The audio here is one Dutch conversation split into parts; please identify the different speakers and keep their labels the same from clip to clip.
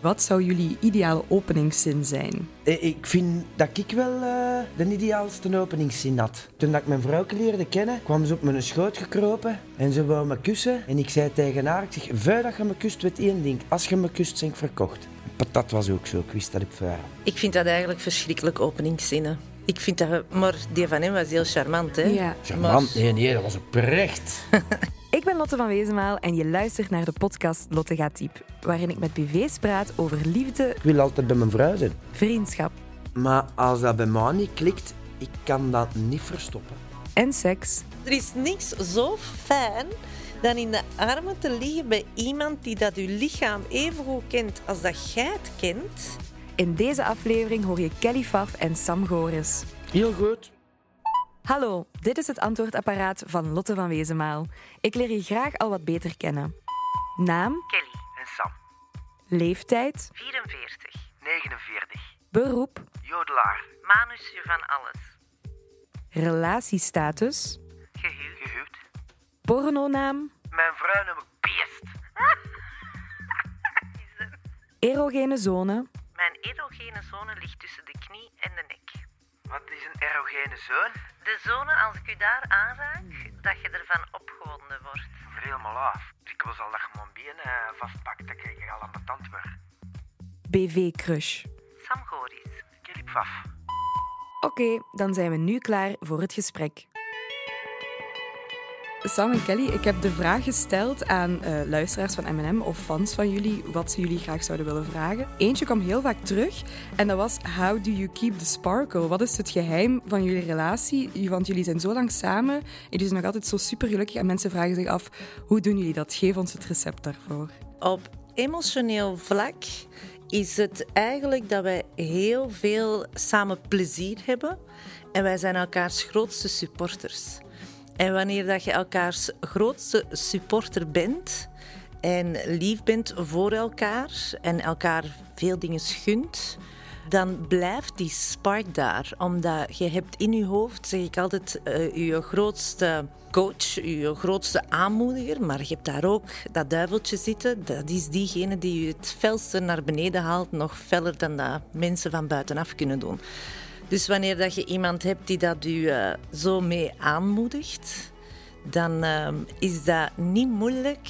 Speaker 1: Wat zou jullie ideale openingszin zijn?
Speaker 2: Eh, Ik vind dat ik wel eh, de ideaalste openingszin had. Toen dat ik mijn vrouw leerde kennen, kwam ze op mijn schoot gekropen en ze wou me kussen. En ik zei tegen haar, ik zeg, vuil dat je me kust, weet één ding. Als je me kust, ben ik verkocht. Dat was ook zo, ik wist dat ik vuil.
Speaker 3: Ik vind dat eigenlijk verschrikkelijk openingszinnen. Ik vind dat, maar die van hem was heel charmant, hè?
Speaker 1: Ja.
Speaker 2: Charmant, nee, nee, dat was oprecht.
Speaker 1: Ik ben Lotte van Wezenmaal en je luistert naar de podcast Lotte gaat diep, waarin ik met BV's praat over liefde,
Speaker 2: Ik wil altijd bij mijn vrouw zijn.
Speaker 1: vriendschap
Speaker 2: Maar als dat bij mij niet klikt, ik kan dat niet verstoppen.
Speaker 1: en seks.
Speaker 3: Er is niks zo fijn dan in de armen te liggen bij iemand die dat uw lichaam even goed kent als dat jij het kent.
Speaker 1: In deze aflevering hoor je Kelly Faf en Sam Goris.
Speaker 2: Heel goed.
Speaker 1: Hallo, dit is het antwoordapparaat van Lotte van Wezenmaal. Ik leer je graag al wat beter kennen. Naam,
Speaker 2: Kelly en Sam,
Speaker 1: leeftijd,
Speaker 3: 44.
Speaker 2: 49.
Speaker 1: beroep,
Speaker 2: Jodelaar.
Speaker 3: Manusje van alles.
Speaker 1: relatiestatus,
Speaker 2: Gehuwd. Gehuwd.
Speaker 1: pornonaam,
Speaker 2: Mijn vrouw noemt beest.
Speaker 1: erogene zone,
Speaker 3: Mijn erogene zone ligt tussen de knie en de nek.
Speaker 2: Wat is een erogene zoon?
Speaker 3: De zone, als ik u daar aanraak, dat je ervan opgewonden wordt.
Speaker 2: Voor helemaal af. Ik was al dat je mijn benen eh, vastpakt, dan krijg je al aan mijn tand weer.
Speaker 1: BV-crush.
Speaker 3: Sam Goris.
Speaker 2: Kelly Pfaf.
Speaker 1: Oké, dan zijn we nu klaar voor het gesprek. Sam en Kelly, ik heb de vraag gesteld aan eh, luisteraars van M&M of fans van jullie wat ze jullie graag zouden willen vragen. Eentje kwam heel vaak terug en dat was How do you keep the sparkle? Wat is het geheim van jullie relatie? Want jullie zijn zo lang samen en jullie zijn nog altijd zo super gelukkig en mensen vragen zich af hoe doen jullie dat? Geef ons het recept daarvoor.
Speaker 3: Op emotioneel vlak is het eigenlijk dat wij heel veel samen plezier hebben en wij zijn elkaars grootste supporters. En wanneer dat je elkaars grootste supporter bent en lief bent voor elkaar en elkaar veel dingen gunt, dan blijft die spark daar. Omdat je hebt in je hoofd, zeg ik altijd, eh, je grootste coach, je grootste aanmoediger. Maar je hebt daar ook dat duiveltje zitten. Dat is diegene die je het felste naar beneden haalt. Nog feller dan dat mensen van buitenaf kunnen doen. Dus wanneer dat je iemand hebt die dat je eh, zo mee aanmoedigt... dan eh, is dat niet moeilijk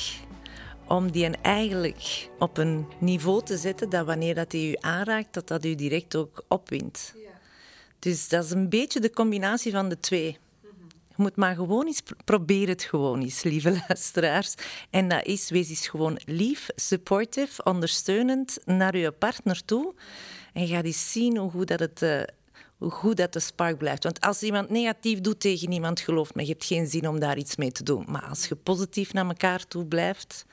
Speaker 3: om die een eigenlijk op een niveau te zetten dat wanneer dat die u aanraakt, dat dat u direct ook opwint. Dus dat is een beetje de combinatie van de twee. Je moet maar gewoon eens, pr- probeer het gewoon eens, lieve luisteraars. En dat is, wees eens gewoon lief, supportive, ondersteunend naar je partner toe. En ga eens zien hoe goed dat het... eh, hoe goed dat de spark blijft. Want als iemand negatief doet tegen iemand, geloof me, je hebt geen zin om daar iets mee te doen. Maar als je positief naar elkaar toe blijft,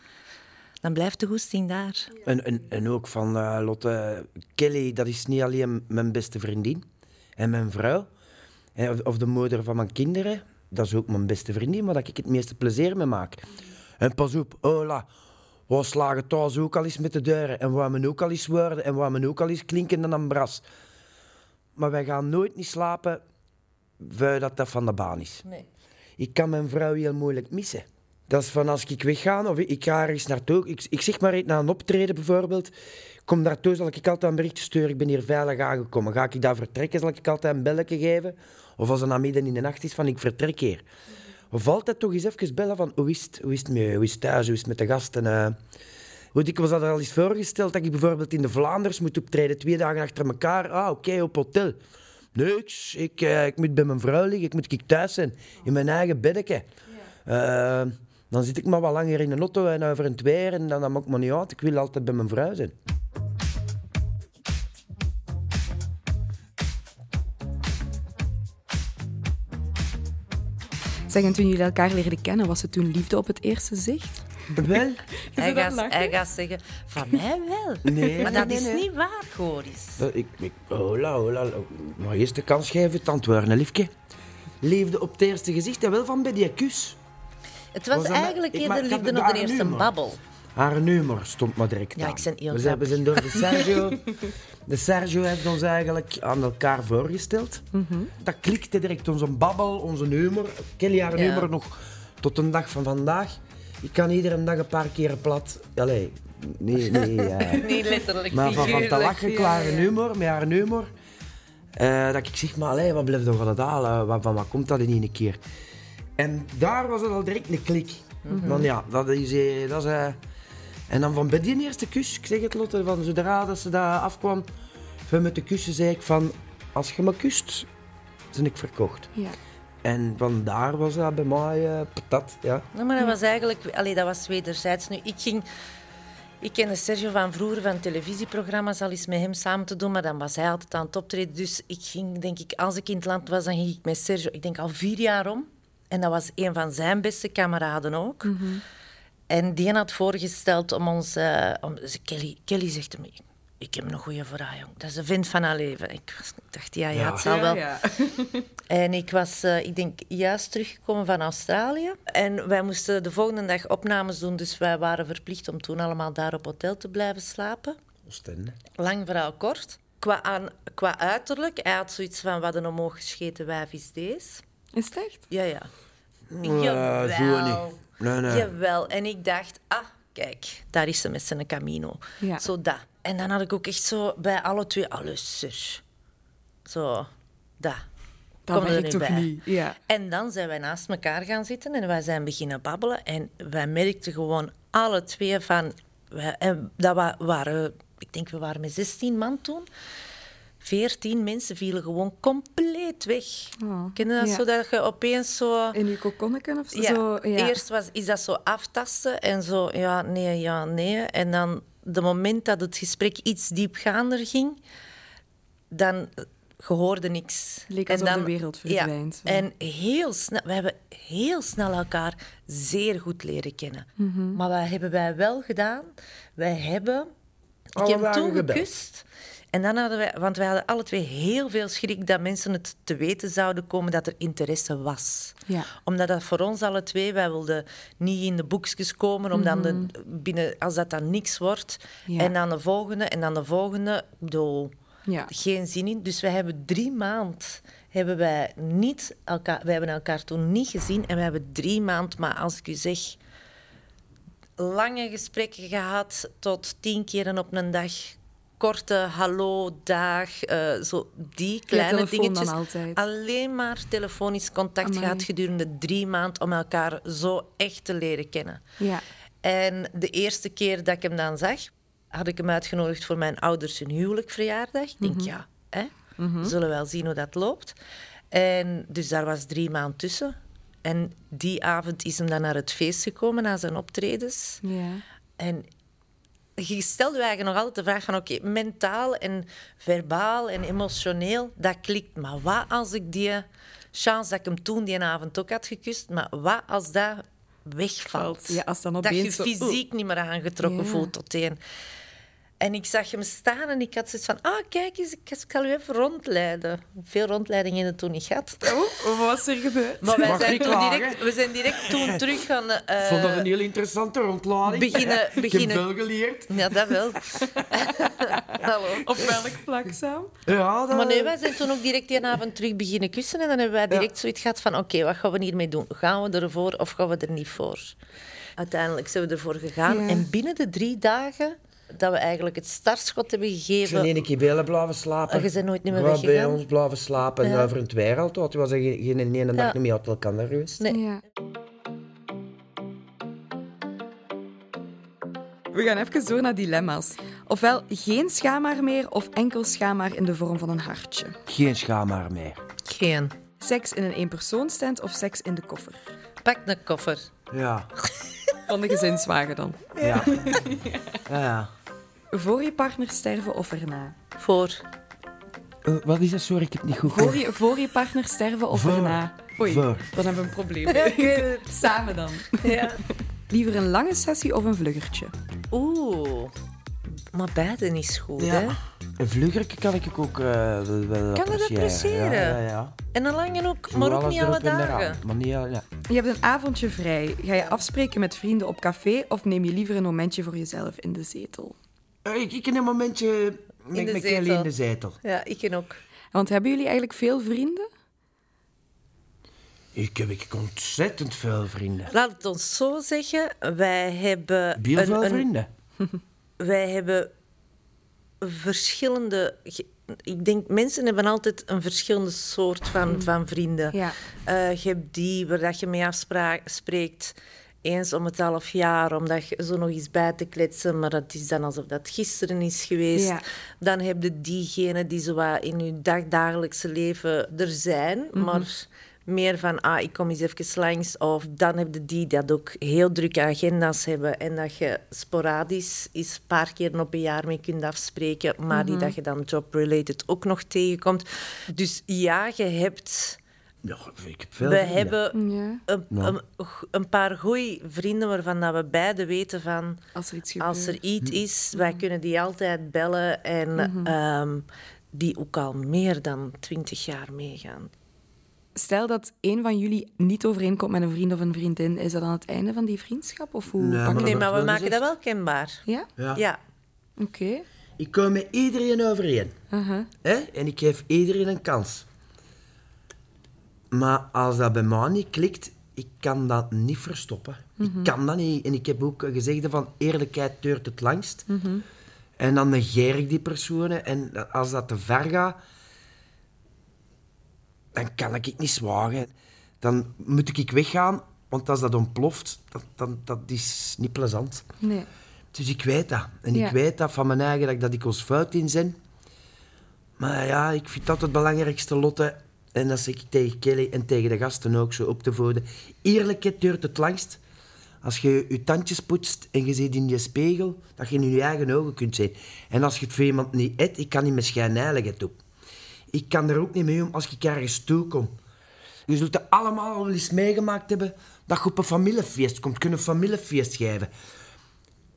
Speaker 3: dan blijft de goesting daar.
Speaker 2: En, en, en ook van eh, Lotte, Kelly, dat is niet alleen mijn beste vriendin en mijn vrouw, en of, of de moeder van mijn kinderen, dat is ook mijn beste vriendin, waar ik het meeste plezier mee maak. En pas op, hola, we slagen thuis ook al eens met de deuren, en waar men ook al eens worden, en waar men ook al eens klinken dan een bras. Maar wij gaan nooit niet slapen, vuil dat dat van de baan is.
Speaker 3: Nee.
Speaker 2: Ik kan mijn vrouw heel moeilijk missen. Dat is van als ik wegga of ik ga ergens naartoe. Ik, ik zeg maar iets naar een optreden bijvoorbeeld. Kom daartoe, zal ik altijd een berichtje sturen. Ik ben hier veilig aangekomen. Ga ik daar vertrekken, zal ik altijd een belletje geven. Of als het aan midden in de nacht is, van ik vertrek hier. Of altijd toch eens even bellen van hoe is het, hoe is het met je? hoe is het thuis, hoe is het met de gasten. eh? Hoe ik was dat al eens voorgesteld dat ik bijvoorbeeld in de Vlaanders moet optreden, twee dagen achter elkaar. Ah, oké, op hotel. Niks, ik, eh, ik moet bij mijn vrouw liggen, ik moet ik thuis zijn, in mijn eigen beddeke. Eh, dan zit ik maar wat langer in een auto en over een tweer en dan, dan maakt me niet uit. Ik wil altijd bij mijn vrouw zijn.
Speaker 1: Zeg, en toen jullie elkaar leerden kennen, was het toen liefde op het eerste zicht?
Speaker 2: Wel?
Speaker 3: Hij
Speaker 1: dat
Speaker 3: gaat,
Speaker 1: lachen?
Speaker 3: hij gaat zeggen, van mij wel.
Speaker 2: Nee.
Speaker 3: Maar dat
Speaker 2: Nee,
Speaker 3: is
Speaker 2: nee, nee.
Speaker 3: niet waar, Goris.
Speaker 2: Eh, Ik, ik, hola, hola. Maar eerst de kans geven te antwoorden, hè, liefke. Liefde op het eerste gezicht en wel van bij die kus.
Speaker 3: Het was
Speaker 2: Was dat maar-
Speaker 3: eigenlijk
Speaker 2: ik- maar
Speaker 3: eerder
Speaker 2: ik had
Speaker 3: liefde
Speaker 2: het
Speaker 3: op de
Speaker 2: daar nu,
Speaker 3: eerste
Speaker 2: maar.
Speaker 3: babbel.
Speaker 2: Haar nummer stond maar direct
Speaker 3: Ja,
Speaker 2: aan. Dus
Speaker 3: ik ben heel
Speaker 2: we zijn, we zijn door de Sergio. De Sergio heeft ons eigenlijk aan elkaar voorgesteld.
Speaker 3: Mhm.
Speaker 2: Dat klikte direct. Onze babbel, onze humor. Kelly haar
Speaker 3: Ja.
Speaker 2: nummer nog tot de dag van vandaag. Ik kan iedere dag een paar keer plat. Allee, Nee, nee, ja.
Speaker 3: Niet letterlijk,
Speaker 2: Maar van, van te
Speaker 3: figuurlijk.
Speaker 2: lachen, klare humor, met haar humor. eh, dat ik zeg, maar allee, wat blijft toch dat halen? Eh, Wat, van wat komt dat in één keer? En daar was het al direct een klik.
Speaker 3: Mhm.
Speaker 2: Want ja, dat is... eh, dat is eh, en dan van bij die eerste kus, ik zeg het Lotte, van zodra dat ze daar afkwam, van met de kussen zei ik van, als je me kust, ben ik verkocht.
Speaker 1: Ja.
Speaker 2: En vandaar was dat bij mij eh, patat, ja.
Speaker 3: Nou, maar dat was eigenlijk... Allee, dat was wederzijds. Nu, ik ging... Ik kende Sergio van vroeger van televisieprogramma's al eens met hem samen te doen, maar dan was hij altijd aan het optreden. Dus ik ging, denk ik, als ik in het land was, dan ging ik met Sergio, ik denk al vier jaar om. En dat was een van zijn beste kameraden ook. En die had voorgesteld om ons... eh, om, ze- Kelly, Kelly zegt hem, "Ik- ik heb een goeie voor haar, jong. Dat is de vind van haar leven. Ik, was- ik dacht, ja, ja,
Speaker 2: Ja.
Speaker 3: het zal
Speaker 1: Ja,
Speaker 3: wel.
Speaker 1: ja.
Speaker 3: En ik was, eh, ik denk, juist teruggekomen van Australië. En wij moesten de volgende dag opnames doen, dus wij waren verplicht om toen allemaal daar op hotel te blijven slapen.
Speaker 2: Oostende.
Speaker 3: Lang verhaal kort. Qua, aan, qua uiterlijk, hij had zoiets van, wat een omhoog gescheten wijf is deze.
Speaker 1: Is het echt?
Speaker 3: Ja, ja.
Speaker 2: Ja, zo niet. Nee, nee.
Speaker 3: Jawel. En ik dacht, ah, kijk, daar is ze met zijn Camino.
Speaker 1: Ja.
Speaker 3: Zo dat. En dan had ik ook echt zo bij alle twee, alles, zus. Zo, dat.
Speaker 1: Dat
Speaker 3: Kom er
Speaker 1: werkt
Speaker 3: niet
Speaker 1: toch
Speaker 3: bij.
Speaker 1: niet? Ja.
Speaker 3: En dan zijn wij naast elkaar gaan zitten en wij zijn beginnen babbelen. En wij merkten gewoon alle twee van... Wij, en dat wa- waren... Ik denk, we waren met 16 man toen. 14 mensen vielen gewoon compleet weg.
Speaker 1: Oh,
Speaker 3: Ken je dat
Speaker 1: ja.
Speaker 3: zo? Dat je opeens zo...
Speaker 1: In uw kokonneken of zo?
Speaker 3: Ja,
Speaker 1: Zo, ja.
Speaker 3: Eerst was, is dat zo aftasten en zo ja, nee, ja, nee. En dan de moment dat het gesprek iets diepgaander ging, dan eh, gehoorde niks.
Speaker 1: Leek
Speaker 3: en
Speaker 1: alsof
Speaker 3: dan,
Speaker 1: de wereld
Speaker 3: ja,
Speaker 1: verdwijnt.
Speaker 3: en heel snel, we hebben heel snel elkaar zeer goed leren kennen.
Speaker 1: Mhm.
Speaker 3: Maar wat hebben wij wel gedaan? Wij hebben... Ik
Speaker 2: Alle
Speaker 3: heb hem
Speaker 2: dagen
Speaker 3: toen
Speaker 2: gebeld.
Speaker 3: gekust. En dan hadden wij... Want wij hadden alle twee heel veel schrik dat mensen het te weten zouden komen dat er interesse was
Speaker 1: Ja.
Speaker 3: omdat dat voor ons alle twee, wij wilden niet in de boekjes komen, om dan de, binnen, als dat dan niks wordt.
Speaker 1: Mhm. Ja.
Speaker 3: En dan de volgende, en dan de volgende. Ik bedoel,
Speaker 1: Ja.
Speaker 3: geen zin in. Dus wij hebben drie maanden, hebben wij niet elkaar, wij hebben elkaar toen niet gezien. En we hebben drie maanden, maar als ik u zeg, lange gesprekken gehad, tot tien keren op een dag. Korte hallo, dag, eh, zo die kleine
Speaker 1: telefoon dan
Speaker 3: dingetjes.
Speaker 1: altijd.
Speaker 3: Alleen maar telefonisch contact
Speaker 1: Amai.
Speaker 3: gehad gedurende drie maanden om elkaar zo echt te leren kennen.
Speaker 1: Ja.
Speaker 3: En de eerste keer dat ik hem dan zag, had ik hem uitgenodigd voor mijn ouders hun huwelijkverjaardag. Ik denk, ja, hè? we zullen wel zien hoe dat loopt. En dus daar was drie maanden tussen. En die avond is hem dan naar het feest gekomen, na zijn optredens.
Speaker 1: Ja.
Speaker 3: En je stelde je eigenlijk nog altijd de vraag van... Oké, mentaal en verbaal en emotioneel, dat klikt. Maar wat als ik die chance dat ik hem toen die avond ook had gekust... Maar wat als dat wegvalt?
Speaker 1: Ja, als dan
Speaker 3: dat je
Speaker 1: opeens zo, oeh.
Speaker 3: fysiek niet meer aangetrokken
Speaker 1: Ja.
Speaker 3: voelt tot één. En ik zag hem staan en ik had zoiets van... Ah, kijk eens, ik ik zal u even rondleiden. Veel rondleidingen toen niet gehad.
Speaker 1: Oh, wat was er gebeurd?
Speaker 3: Maar wij
Speaker 2: Mag
Speaker 3: zijn,
Speaker 2: niet
Speaker 3: toen
Speaker 2: klagen.
Speaker 3: direct, we zijn direct toen terug gaan... eh,
Speaker 2: vond dat een heel interessante rondlading.
Speaker 3: beginnen-
Speaker 2: Ik
Speaker 3: beginnen-
Speaker 2: heb veel geleerd.
Speaker 3: Ja, dat wel. Hallo.
Speaker 1: Op welk vlak, Sam?
Speaker 2: Ja, dat...
Speaker 3: Maar nee, wij zijn toen ook direct die avond terug beginnen kussen. En dan hebben wij direct zoiets gehad van... Oké, wat gaan we hiermee doen? Gaan we ervoor of gaan we er niet voor? Uiteindelijk zijn we ervoor gegaan.
Speaker 1: Ja.
Speaker 3: En binnen de drie dagen dat we eigenlijk het startschot hebben
Speaker 2: Ik ben
Speaker 3: gegeven...
Speaker 2: één keer bij hen blijven slapen.
Speaker 3: Ah, je bent nooit meer
Speaker 2: Ja,
Speaker 3: weggegaan?
Speaker 2: bij ons blijven slapen. En
Speaker 3: Ja.
Speaker 2: over het wereld tot. Je was er geen, geen ene dag
Speaker 3: Ja.
Speaker 2: niet meer uit elkaar geweest.
Speaker 3: Nee.
Speaker 1: Ja. We gaan even door naar dilemma's. Ofwel geen schaamhaar meer of enkel schaamhaar in de vorm van een hartje.
Speaker 2: Geen schaamhaar meer.
Speaker 3: Geen.
Speaker 1: Seks in een eenpersoonstent of seks in de koffer?
Speaker 3: Pak een koffer.
Speaker 2: Ja.
Speaker 1: Van de gezinswagen dan.
Speaker 2: Ja. ja. ja.
Speaker 1: Voor je partner sterven of erna?
Speaker 3: Voor.
Speaker 2: Eh, wat is dat? Sorry, ik heb het niet goed
Speaker 1: Voor
Speaker 2: gehoord.
Speaker 1: je, voor je partner sterven of
Speaker 2: Voor.
Speaker 1: erna? Oei,
Speaker 2: Voor.
Speaker 1: dan hebben we een probleem. Samen dan. Liever een lange sessie of een vluggertje?
Speaker 3: Oeh. Maar beide is goed, hè?
Speaker 2: Ja. Een vluggerke Eh, kan ik ook eh wel, wel
Speaker 3: Kan je dat appreciëren?
Speaker 2: Ja, ja, ja.
Speaker 3: En dan lang ook,
Speaker 2: Doe
Speaker 3: maar ook
Speaker 2: alles
Speaker 3: niet alle
Speaker 2: erop en eraan.
Speaker 3: dagen.
Speaker 2: Maar niet alle- ja.
Speaker 1: Je hebt een avondje vrij. Ga je afspreken met vrienden op café of neem je liever een momentje voor jezelf in de zetel?
Speaker 2: Eh, Ik, ik in een momentje
Speaker 3: de
Speaker 2: met, met Kelly
Speaker 3: zetel.
Speaker 2: in de zetel.
Speaker 3: Ja, ik en ook.
Speaker 1: Want hebben jullie eigenlijk veel vrienden?
Speaker 2: Ik heb ik ontzettend veel vrienden.
Speaker 3: Laat het ons zo zeggen, wij hebben...
Speaker 2: Biel
Speaker 3: een-
Speaker 2: veel
Speaker 3: een-
Speaker 2: vrienden.
Speaker 3: wij hebben verschillende. ge- Ik denk, mensen hebben altijd een verschillende soort van, van vrienden.
Speaker 1: Ja.
Speaker 3: Eh, je hebt die waar dat je mee afspreekt eens om het half jaar, om dat je zo nog eens bij te kletsen, maar het is dan alsof dat gisteren is geweest.
Speaker 1: Ja.
Speaker 3: Dan heb je diegenen die zo wat in je dagdagelijkse leven er zijn, maar meer van, ah, ik kom eens even langs. Of dan heb je die dat ook heel drukke agenda's hebben en dat je sporadisch eens een paar keer op een jaar mee kunt afspreken, maar die dat je dan job-related ook nog tegenkomt. Dus ja, je hebt...
Speaker 2: Ja, ik heb veel
Speaker 3: We
Speaker 2: vrienden.
Speaker 3: hebben
Speaker 1: Ja.
Speaker 3: een, een, een paar goede vrienden waarvan dat we beiden weten van...
Speaker 1: Als er iets gebeurt. Hm.
Speaker 3: Als er iets
Speaker 2: Hm.
Speaker 3: is, wij kunnen die altijd bellen. En
Speaker 1: Mhm.
Speaker 3: ehm, die ook al meer dan twintig jaar meegaan.
Speaker 1: Stel dat één van jullie niet overeenkomt met een vriend of een vriendin, is dat aan het einde van die vriendschap? Of hoe
Speaker 2: Nee,
Speaker 1: pak je
Speaker 2: maar-
Speaker 3: Nee,
Speaker 2: wordt
Speaker 3: maar we
Speaker 2: wel
Speaker 3: maken dat
Speaker 2: gezegd.
Speaker 3: wel kenbaar.
Speaker 1: Ja?
Speaker 2: Ja.
Speaker 3: Ja.
Speaker 1: Oké.
Speaker 2: Ik kom met iedereen overeen.
Speaker 1: Aha.
Speaker 2: Hè? En ik geef iedereen een kans. Maar als dat bij mij niet klikt, ik kan dat niet verstoppen. Ik kan dat niet. En ik heb ook gezegd van eerlijkheid duurt het langst. En dan negeer ik die personen. En als dat te ver gaat, dan kan ik het niet zwagen. Dan moet ik weggaan, want als dat ontploft, dat, dan, dat is niet plezant.
Speaker 1: Nee.
Speaker 2: Dus ik weet dat. En
Speaker 1: Ja.
Speaker 2: ik weet dat van mijn eigen, dat ik, dat ik ons fout in ben. Maar ja, ik vind dat het belangrijkste, Lotte. En dat zeg ik tegen Kelly en tegen de gasten ook zo op te voeden. Eerlijkheid duurt het langst. Als je je tandjes poetst en je ziet in je spiegel, dat je in je eigen ogen kunt zien. En als je het voor iemand niet eet, ik kan niet met schijnheiligheid op. Ik kan er ook niet mee om als ik ergens toe kom. Je zult het allemaal wel eens meegemaakt hebben dat je op een familiefeest komt. Kunnen familiefeest geven.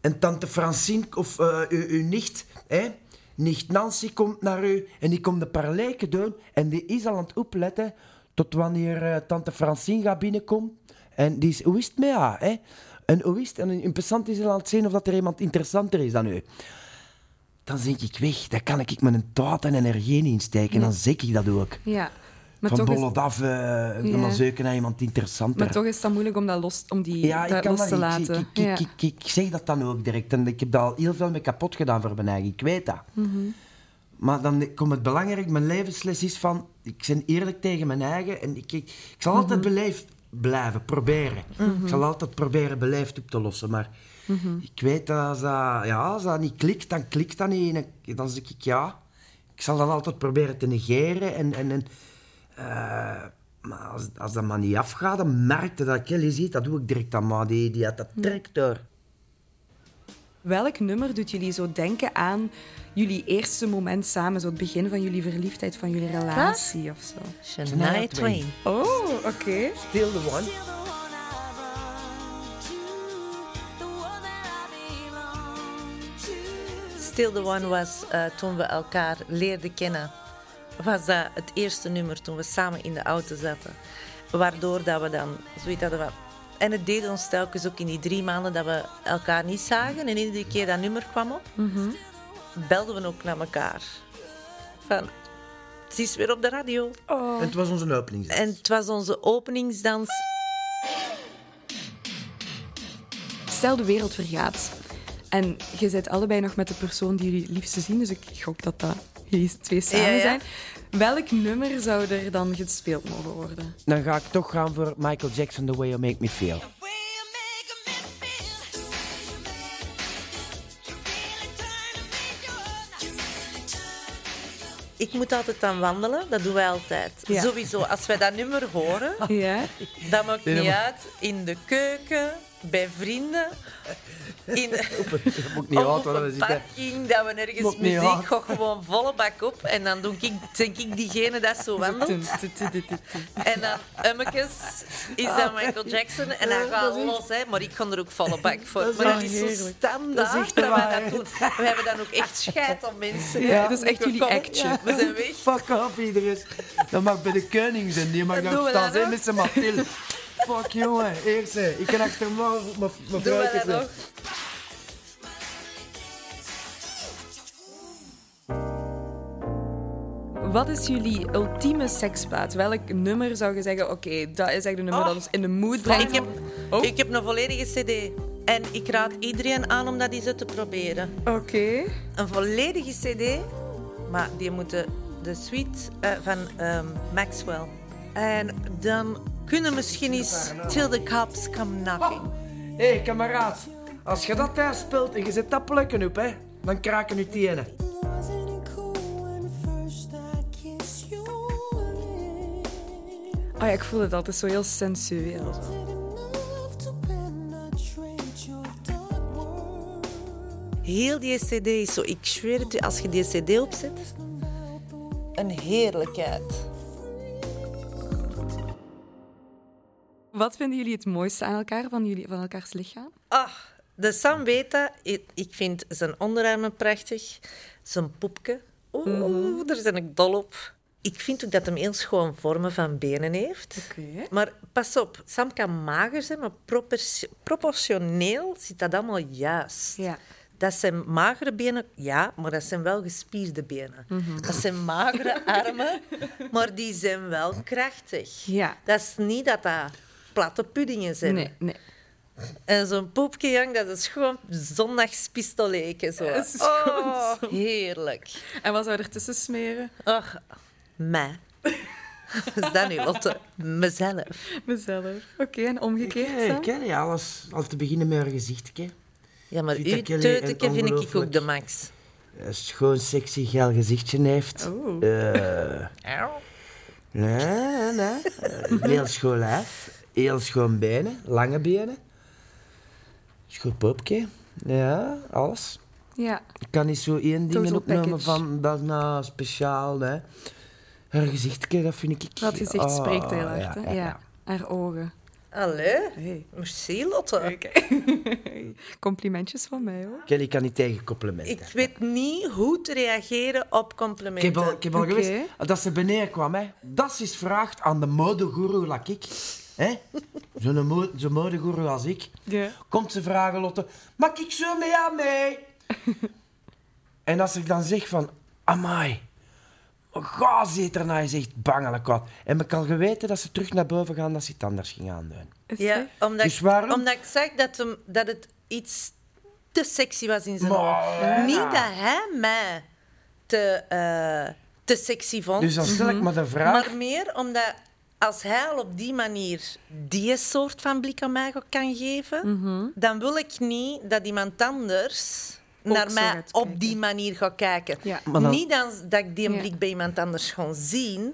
Speaker 2: En tante Francine of eh, uw, uw nicht, hè? nicht Nancy komt naar u en die komt de parlijken doen. En die is al aan het opletten tot wanneer eh, tante Francine gaat binnenkomen. En die is, hoe is het met haar? Hè? En hoe is het? En interessant is hij aan het zien of dat er iemand interessanter is dan u. Dan denk ik weg, dan kan ik mijn taart en energie niet insteken. Dan zeg ik dat ook.
Speaker 1: Ja. Maar
Speaker 2: Van
Speaker 1: toch, is,
Speaker 2: bollend af, eh, ik ben
Speaker 1: Ja.
Speaker 2: maar zeuken naar iemand interessanter.
Speaker 1: maar toch is dat moeilijk om dat los, om die,
Speaker 2: Ja, ik
Speaker 1: dat
Speaker 2: kan
Speaker 1: los
Speaker 2: dat
Speaker 1: te
Speaker 2: niet.
Speaker 1: laten.
Speaker 2: Ik, ik,
Speaker 1: ja.
Speaker 2: ik, ik, ik zeg dat dan ook direct. En ik heb daar al heel veel mee kapot gedaan voor mijn eigen. Ik weet dat.
Speaker 1: Mhm.
Speaker 2: Maar dan komt het belangrijk. Mijn levensles is van... Ik ben eerlijk tegen mijn eigen. En ik, ik, ik zal altijd
Speaker 1: Mhm.
Speaker 2: beleefd blijven. Proberen. Ik zal altijd proberen beleefd op te lossen. Maar
Speaker 1: Mhm.
Speaker 2: ik weet dat als dat, ja, als dat niet klikt, dan klikt dat niet. En ik- dan zeg ik ja. Ik zal dat altijd proberen te negeren. En... en, en eh, maar als, als dat maar niet afgaat, dan merkte dat Kelly ziet, dat doe ik direct aan maar die, die had dat trekt door.
Speaker 1: Welk nummer doet jullie zo denken aan jullie eerste moment samen? Zo het begin van jullie verliefdheid, van jullie relatie of zo?
Speaker 3: Shania Twain.
Speaker 1: Oh, oké.
Speaker 2: Still the one.
Speaker 4: You're the one I run to, the one that I belong to.
Speaker 3: Still the One was eh, toen we elkaar leerden kennen. Was dat het eerste nummer toen we samen in de auto zaten. Waardoor dat we dan zoiets hadden van... En het deed ons telkens ook in die drie maanden dat we elkaar niet zagen. En iedere keer dat nummer kwam op, belden we ook naar elkaar. Van, het is weer op de radio.
Speaker 2: En het was onze opening.
Speaker 3: En het was onze openingsdans.
Speaker 1: Stel de wereld vergaat en je zit allebei nog met de persoon die jullie het liefste zien, dus ik gok dat dat jullie twee samen
Speaker 3: Ja, ja.
Speaker 1: zijn. Welk nummer zou er dan gespeeld mogen worden?
Speaker 2: Dan ga ik toch gaan voor Michael Jackson, The Way You Make Me Feel.
Speaker 4: The way you make me feel, the way you make me feel. You really turn me on. You really turn me on.
Speaker 3: Ik moet altijd aan wandelen, dat doen wij altijd.
Speaker 1: Ja.
Speaker 3: Sowieso, als wij dat nummer horen...
Speaker 1: Ja?
Speaker 3: Dat maakt niet uit. In de keuken, bij vrienden. In,
Speaker 2: Dat moet
Speaker 3: of op een parking, dat we nergens
Speaker 2: Maakt niet
Speaker 3: muziek...
Speaker 2: uit.
Speaker 3: Gooi gewoon volle bak op. En dan doe ik, denk ik diegene dat zo wandelt. En dan ummetjes is
Speaker 2: Ah.
Speaker 3: dat Michael Jackson. En dan gaat los, hè. Maar ik kon er ook volle bak voor.
Speaker 2: Dat is
Speaker 3: maar dat
Speaker 2: echt
Speaker 3: is zo
Speaker 2: heerlijk.
Speaker 3: standaard
Speaker 2: Dat
Speaker 3: dat,
Speaker 2: is echt de
Speaker 3: wij dat
Speaker 2: waarheid.
Speaker 3: doen. We hebben dan ook echt scheid aan mensen.
Speaker 1: Ja, dat is echt jullie
Speaker 3: Kom,
Speaker 1: actje.
Speaker 3: We zijn weg.
Speaker 2: Fuck off, iedereen. Dat mag bij de koning zijn, die mag
Speaker 3: Dat
Speaker 2: daar
Speaker 3: doen we
Speaker 2: staan
Speaker 3: dan
Speaker 2: zijn
Speaker 3: ook.
Speaker 2: met zijn Mathilde. Fuck jongen, eerst hè. Ik kan achter morgen mijn
Speaker 3: Doen we
Speaker 2: vrouwtje
Speaker 3: dat nog?
Speaker 2: zijn.
Speaker 1: Wat is jullie ultieme seksplaat? Welk nummer zou je zeggen, oké, dat is echt een nummer dat ons in de mood
Speaker 3: Maar
Speaker 1: brengt?
Speaker 3: ik Oh. heb,
Speaker 1: Oh.
Speaker 3: ik heb een volledige cd En ik raad iedereen aan om dat eens uit te proberen.
Speaker 1: Oké.
Speaker 3: Een volledige CD, maar die moeten de suite eh, van ehm, Maxwell. En dan kunnen misschien eens Till the Cops Come Knocking.
Speaker 2: Hé, hey, kameraad. Als je dat thuis speelt en je zet dat plukken op, hè, dan kraken je tenen.
Speaker 4: Wasn't it cool when first I kissed your lips?
Speaker 1: Ah ja, ik voel het altijd zo heel sensueel. zo.
Speaker 4: Did enough to penetrate your dark world.
Speaker 3: Heel die CD is zo, ik zweer het je, als je die CD opzet, een heerlijkheid.
Speaker 1: Wat vinden jullie het mooiste aan elkaar, van, jullie, van elkaars lichaam?
Speaker 3: Ah, de Samweta, ik ik vind zijn onderarmen prachtig. Zijn poepje, oeh, daar ben ik dol op. Ik vind ook dat hem heel schoon vormen van benen heeft.
Speaker 1: Oké.
Speaker 3: Maar pas op, Sam kan mager zijn, maar propers- proportioneel zit dat allemaal juist.
Speaker 1: Ja.
Speaker 3: Dat zijn magere benen, ja, maar dat zijn wel gespierde benen.
Speaker 1: Mhm.
Speaker 3: Dat zijn magere armen, maar die zijn wel krachtig.
Speaker 1: Ja.
Speaker 3: Dat is niet dat dat platte puddingen zijn.
Speaker 1: Nee, nee.
Speaker 3: En zo'n poepje, jong, dat is gewoon zondagspistoleken. Zo.
Speaker 1: Het is
Speaker 3: oh, heerlijk.
Speaker 1: En wat zou er tussen smeren?
Speaker 3: Och, mij. is dat nu, Lotte? Mezelf.
Speaker 1: Mezelf. Oké, en omgekeerd,
Speaker 2: Hey,
Speaker 1: Sam?
Speaker 2: ik ken je alles. Al te beginnen met haar gezicht. hè.
Speaker 3: Ja, maar
Speaker 2: Ziet dat
Speaker 3: uw
Speaker 2: jullie
Speaker 3: teuteke
Speaker 2: een
Speaker 3: vind ik ook
Speaker 2: ongelooflijk-
Speaker 3: de max.
Speaker 2: Een schoon, sexy, geil gezichtje heeft.
Speaker 1: Oeh.
Speaker 2: Eh, nee, nee. Eh, heel schoon lijf. Heel schoon benen. Lange benen. Schoon popje. Ja, alles.
Speaker 1: Ja.
Speaker 2: Ik kan niet zo één ding
Speaker 1: Total
Speaker 2: opnemen
Speaker 1: package.
Speaker 2: van dat is nou speciaal. Hè. Haar gezichtje, dat vind ik...
Speaker 1: Wat gezicht
Speaker 2: Oh,
Speaker 1: spreekt heel hard, hè?
Speaker 2: ja, ja.
Speaker 1: Haar ogen.
Speaker 3: Allee,
Speaker 1: Hey.
Speaker 3: merci, Lotte.
Speaker 1: Oké. Complimentjes van mij, hoor.
Speaker 2: Kelly kan niet tegen complimenten.
Speaker 3: Ik weet niet hoe te reageren op
Speaker 2: Ik heb al,
Speaker 3: complimenten.
Speaker 2: ik heb al
Speaker 1: Oké.
Speaker 2: gewist dat ze beneden kwam. Hè. Dat is vraagt aan de modegoeroe like ik. Hè? Zo'n mo zo'n modegoeroe als ik.
Speaker 1: Ja.
Speaker 2: Komt ze vragen, Lotte, mag ik zo mee aan mee? en als ik dan zeg van, amai, ga zit erna, is echt bangelijk wat. En ik al geweten dat ze terug naar boven gaan, dat ze het anders ging aandoen.
Speaker 1: Is
Speaker 3: Ja,
Speaker 1: het?
Speaker 3: omdat,
Speaker 2: Dus
Speaker 3: ik-
Speaker 2: waarom-
Speaker 3: omdat ik zag dat, hem, dat het iets te sexy was in zijn
Speaker 2: Maar-
Speaker 3: ogen. Niet dat hij mij te, eh, te sexy vond,
Speaker 2: Dus dan stel ik me de vraag,
Speaker 3: maar meer omdat als hij al op die manier die soort van blik aan mij kan geven,
Speaker 1: Mhm.
Speaker 3: dan wil ik niet dat iemand anders
Speaker 1: Ook
Speaker 3: naar
Speaker 1: zo
Speaker 3: mij
Speaker 1: gaat
Speaker 3: op
Speaker 1: kijken.
Speaker 3: die manier gaat kijken.
Speaker 1: Ja.
Speaker 2: Maar dan-
Speaker 3: Niet dan dat ik die
Speaker 1: Ja. Mhm.
Speaker 3: blik bij iemand anders ga zien,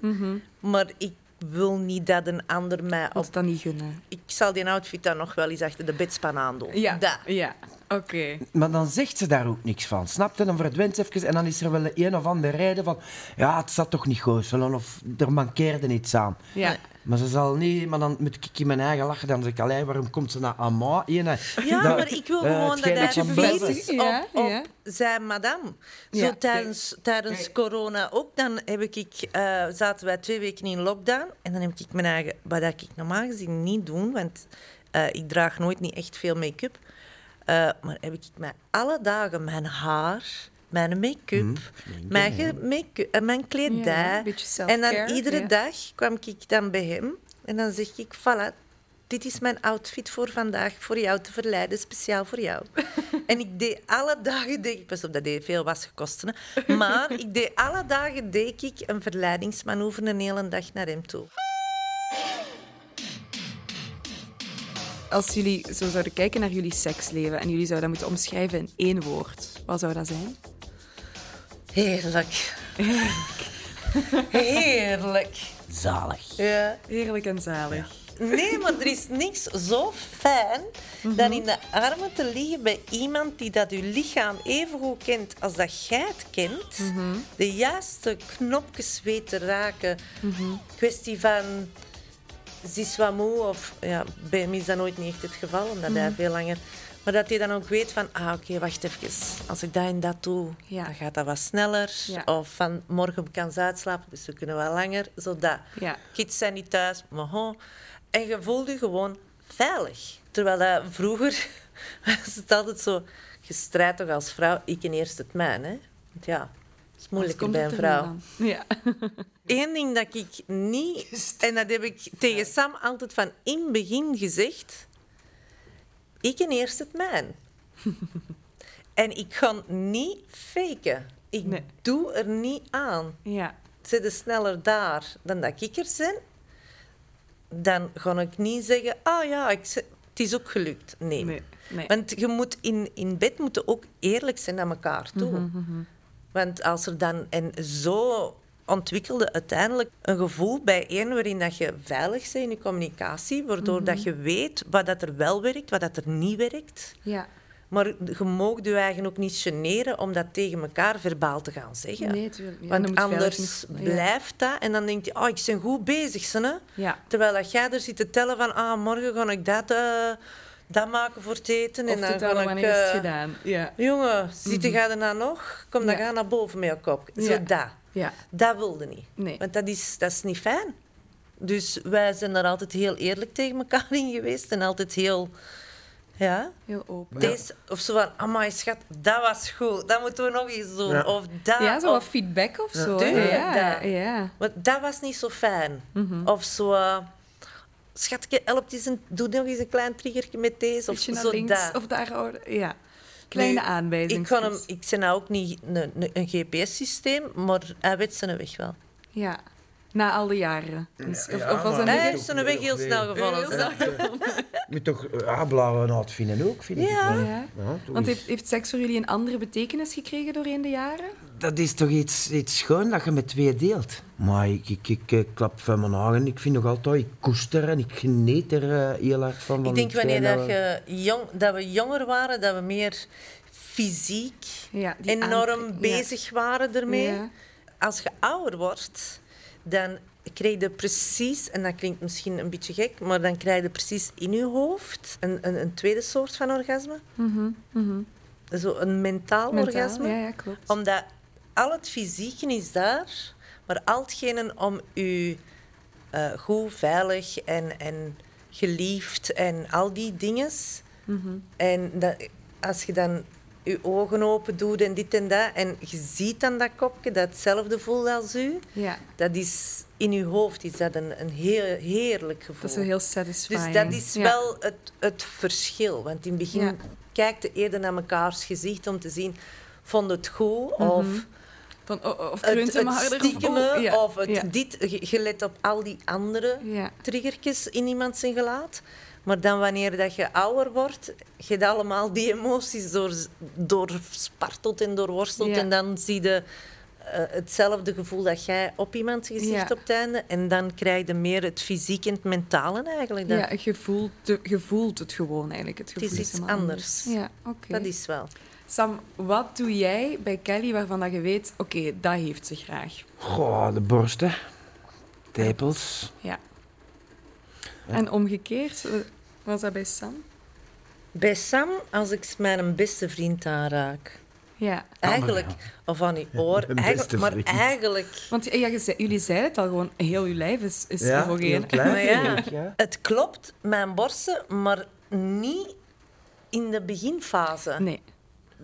Speaker 3: maar ik wil niet dat een ander mij
Speaker 1: Moet
Speaker 3: op
Speaker 1: het dan niet gunnen.
Speaker 3: ik zal die outfit dan nog wel eens achter de bedspan aandoen.
Speaker 1: Ja.
Speaker 3: Dat.
Speaker 1: Ja. Oké.
Speaker 2: maar dan zegt ze daar ook niks van. Snap je? Dan verdwijnt ze even en dan is er wel een of andere reden van... Ja, het zat toch niet goed, zullen of er mankeerde iets aan.
Speaker 1: Ja.
Speaker 2: Maar ze zal niet, maar dan moet ik in mijn eigen lachen. Dan zeg ik alleen, waarom komt ze naar Amma? Ene,
Speaker 3: Ja,
Speaker 2: dat-
Speaker 3: maar ik wil
Speaker 2: eh,
Speaker 3: gewoon dat
Speaker 2: hetgeen van
Speaker 3: hij
Speaker 1: bevestigt.
Speaker 2: boven-
Speaker 3: vies is
Speaker 1: Ja,
Speaker 3: op, op
Speaker 1: ja.
Speaker 3: zijn madame. Zo
Speaker 1: Ja.
Speaker 3: tijdens, tijdens corona ook. Dan heb ik, eh, zaten wij twee weken in lockdown. En dan heb ik mijn eigen... Wat dat ik normaal gezien niet doe, want eh, ik draag nooit niet echt veel make-up. Eh, maar heb ik mijn, alle dagen mijn haar... Mijn make-up,
Speaker 2: Mhm.
Speaker 3: mijn, ge- make-up, eh, mijn
Speaker 1: Ja, een
Speaker 3: kledij.
Speaker 1: beetje
Speaker 3: en
Speaker 1: self-care,
Speaker 3: dan iedere
Speaker 1: ja.
Speaker 3: dag kwam ik dan bij hem. En dan zeg ik, voilà, dit is mijn outfit voor vandaag, voor jou te verleiden, speciaal voor jou. en ik deed alle dagen, deed ik, pas op, dat deed veel was gekost, hè. maar ik deed alle dagen deed ik een verleidingsmanoeuvre een hele dag naar hem toe.
Speaker 1: Als jullie zo zouden kijken naar jullie seksleven en jullie zouden dat moeten omschrijven in één woord, wat zou dat zijn?
Speaker 3: Heerlijk. Heerlijk.
Speaker 2: Zalig.
Speaker 3: Ja.
Speaker 1: Heerlijk en zalig.
Speaker 3: Nee, maar er is niks zo fijn dan in de armen te liggen bij iemand die dat je lichaam even goed kent als dat jij het kent. De juiste knopjes weet te raken. Kwestie van ze is wat moe of ja, bij hem is dat nooit niet echt het geval, omdat hij veel langer. Maar dat hij dan ook weet van, ah oké, wacht even. Als ik dat en dat doe,
Speaker 1: Ja.
Speaker 3: dan gaat dat wat sneller.
Speaker 1: Ja.
Speaker 3: Of van morgen kan ze uitslapen, dus we kunnen wel langer. Zodat.
Speaker 1: Ja.
Speaker 3: Kids zijn niet thuis, maar ho. En je voelde je gewoon veilig. Terwijl dat vroeger was het altijd zo, je strijdt toch als vrouw, ik in eerst het mijn, hè? Want ja, het is
Speaker 1: Anders
Speaker 3: moeilijker
Speaker 1: komt
Speaker 3: bij een
Speaker 1: het er
Speaker 3: vrouw.
Speaker 1: niet aan. Ja.
Speaker 3: Eén ding dat ik niet, en dat heb ik tegen Sam altijd van in het begin gezegd. Ik ken eerst het mijn. en ik kan niet faken. Ik
Speaker 1: Nee.
Speaker 3: doe er niet aan.
Speaker 1: Ja.
Speaker 3: Zitten sneller daar dan dat ik er ben. Dan ga ik niet zeggen, ah ja, ik, zit- het is ook gelukt. Nee.
Speaker 1: Nee. nee.
Speaker 3: Want je moet in, in bed moeten ook eerlijk zijn naar elkaar toe. Want als er dan... En zo ontwikkelde uiteindelijk een gevoel bijeen waarin dat je veilig bent in je communicatie, waardoor dat je weet wat dat er wel werkt, wat dat er niet werkt.
Speaker 1: Ja.
Speaker 3: Maar je mag je eigen ook niet generen om dat tegen elkaar verbaal te gaan zeggen.
Speaker 1: Nee, tuurlijk. Ja, dan
Speaker 3: Want
Speaker 1: moet je veilig
Speaker 3: anders
Speaker 1: genoeg-
Speaker 3: blijft dat en dan denk je, oh, ik ben goed bezig, hè?
Speaker 1: Ja.
Speaker 3: Terwijl dat jij er zit te tellen van, ah, morgen ga ik dat, eh, dat maken voor het eten.
Speaker 1: Of
Speaker 3: en dan
Speaker 1: te
Speaker 3: ga
Speaker 1: tellen
Speaker 3: ik,
Speaker 1: wanneer is het
Speaker 3: eh,
Speaker 1: gedaan. Ja.
Speaker 3: Jongen, zit je er nou nog? Kom dan
Speaker 1: Ja.
Speaker 3: ga naar boven met je kop. Zo
Speaker 1: Ja.
Speaker 3: dat.
Speaker 1: Ja.
Speaker 3: Dat wilde niet.
Speaker 1: Nee.
Speaker 3: Want dat is, dat is niet fijn. Dus wij zijn daar altijd heel eerlijk tegen elkaar in geweest. En altijd heel... Ja,
Speaker 1: Heel open.
Speaker 3: deze... Of zo van, amai schat, dat was goed. Dat moeten we nog eens doen.
Speaker 2: Ja.
Speaker 3: Of dat.
Speaker 1: Ja, zo wat
Speaker 3: of-
Speaker 1: feedback of zo. hè?
Speaker 3: Tuurlijk,
Speaker 1: Ja.
Speaker 3: dat.
Speaker 1: ja.
Speaker 3: want dat was niet zo fijn.
Speaker 1: Mhm.
Speaker 3: Of zo... eh, Schatje, help eens een, doe nog eens een klein triggertje met deze. Of
Speaker 1: Beetje naar
Speaker 3: zo
Speaker 1: links
Speaker 3: dat.
Speaker 1: of daar. oh, Ja. Kleine
Speaker 3: Nu,
Speaker 1: aanwijzingen.
Speaker 3: Ik, kan hem, ik ben nou ook niet een, een- een GPS-systeem, maar hij weet zijn weg wel.
Speaker 1: Ja. Na al die jaren. Dus- of,
Speaker 2: ja,
Speaker 1: of was dat
Speaker 2: maar-
Speaker 1: niet
Speaker 2: Nee,
Speaker 3: Hij
Speaker 2: toch
Speaker 3: heeft zijn weg
Speaker 2: weer
Speaker 3: heel
Speaker 2: of
Speaker 3: snel
Speaker 2: weer?
Speaker 3: gevallen.
Speaker 1: Heel
Speaker 3: zeg.
Speaker 2: Je moet toch eh, ah, blauwe naad vinden ook, vind
Speaker 3: Ja.
Speaker 2: ik. wel.
Speaker 1: Ja.
Speaker 2: Ja, toch
Speaker 1: Want
Speaker 2: is-
Speaker 1: heeft, heeft seks voor jullie een andere betekenis gekregen doorheen de jaren?
Speaker 2: Dat is toch iets, iets schoon dat je met twee deelt. Maar ik, ik, ik, eh, klap van mijn haren. Ik vind nog altijd, ik koester en ik geniet er eh, heel hard van.
Speaker 3: Ik
Speaker 2: want
Speaker 3: denk
Speaker 2: het
Speaker 3: wanneer
Speaker 2: zijn
Speaker 3: dat,
Speaker 2: wel-
Speaker 3: je jong, dat we jonger waren, dat we meer fysiek
Speaker 1: Ja, die
Speaker 3: enorm
Speaker 1: aantrek- ja.
Speaker 3: bezig waren ermee.
Speaker 1: Ja.
Speaker 3: Als je ouder wordt, dan krijg je precies, en dat klinkt misschien een beetje gek, maar dan krijg je precies in je hoofd een, een, een tweede soort van orgasme. Zo een mentaal,
Speaker 1: Mhm, Mentaal?
Speaker 3: orgasme.
Speaker 1: Ja, ja, klopt.
Speaker 3: Omdat al het fysieke is daar, maar al hetgene om u eh, goed, veilig en, en geliefd en al die dingen.
Speaker 1: Mhm.
Speaker 3: En dat, als je dan je ogen open doet en dit en dat, en je ziet dan dat kopje dat hetzelfde voelt als u,
Speaker 1: Ja.
Speaker 3: dat is in je hoofd is dat een, een heel, heerlijk gevoel.
Speaker 1: Dat is wel heel satisfying.
Speaker 3: Dus dat is
Speaker 1: Ja.
Speaker 3: wel het, het verschil. Want in het begin
Speaker 1: Ja.
Speaker 3: kijkt je eerder naar mekaars gezicht om te zien... Vond het goed? Of
Speaker 1: Van, oh, oh, of
Speaker 3: het,
Speaker 1: Mhm. kreunt hem
Speaker 3: het
Speaker 1: harder.
Speaker 3: stiekeme? Of,
Speaker 1: oh, ja.
Speaker 3: het
Speaker 1: ja.
Speaker 3: dit? Je- Je let op al die andere
Speaker 1: Ja.
Speaker 3: triggertjes in iemand zijn gelaat. Maar dan wanneer dat je ouder wordt, je hebt allemaal die emoties door, doorsparteld en doorworsteld.
Speaker 1: Ja.
Speaker 3: En dan zie je eh, hetzelfde gevoel dat jij op iemands gezicht
Speaker 1: Ja.
Speaker 3: op het einde. En dan krijg je meer het fysiek en het mentale eigenlijk. Dan.
Speaker 1: Ja, je voelt, de, je voelt het gewoon eigenlijk. Het, gevoel
Speaker 3: is iets
Speaker 1: helemaal
Speaker 3: anders.
Speaker 1: Ja, oké.
Speaker 3: Dat is wel.
Speaker 1: Sam, wat doe jij bij Kelly waarvan dat je weet, oké, dat heeft ze graag?
Speaker 2: Goh, de borsten. Tepels.
Speaker 1: Ja. En omgekeerd, eh, was dat bij Sam?
Speaker 3: Bij Sam, als ik mijn beste vriend aanraak.
Speaker 2: Ah,
Speaker 1: Ja.
Speaker 3: Eigenlijk, of aan die oor,
Speaker 2: Mijn beste
Speaker 3: eigenlijk, maar
Speaker 2: vriend.
Speaker 3: eigenlijk...
Speaker 1: Want eh, ja, je zei- jullie zeiden het al gewoon, heel je lijf is, is
Speaker 2: heel
Speaker 1: erogeen.
Speaker 3: Maar
Speaker 2: klein.
Speaker 3: Oh, ja,
Speaker 2: vind ik, ja.
Speaker 3: het klopt, mijn borsten, maar niet in de beginfase.
Speaker 1: Nee.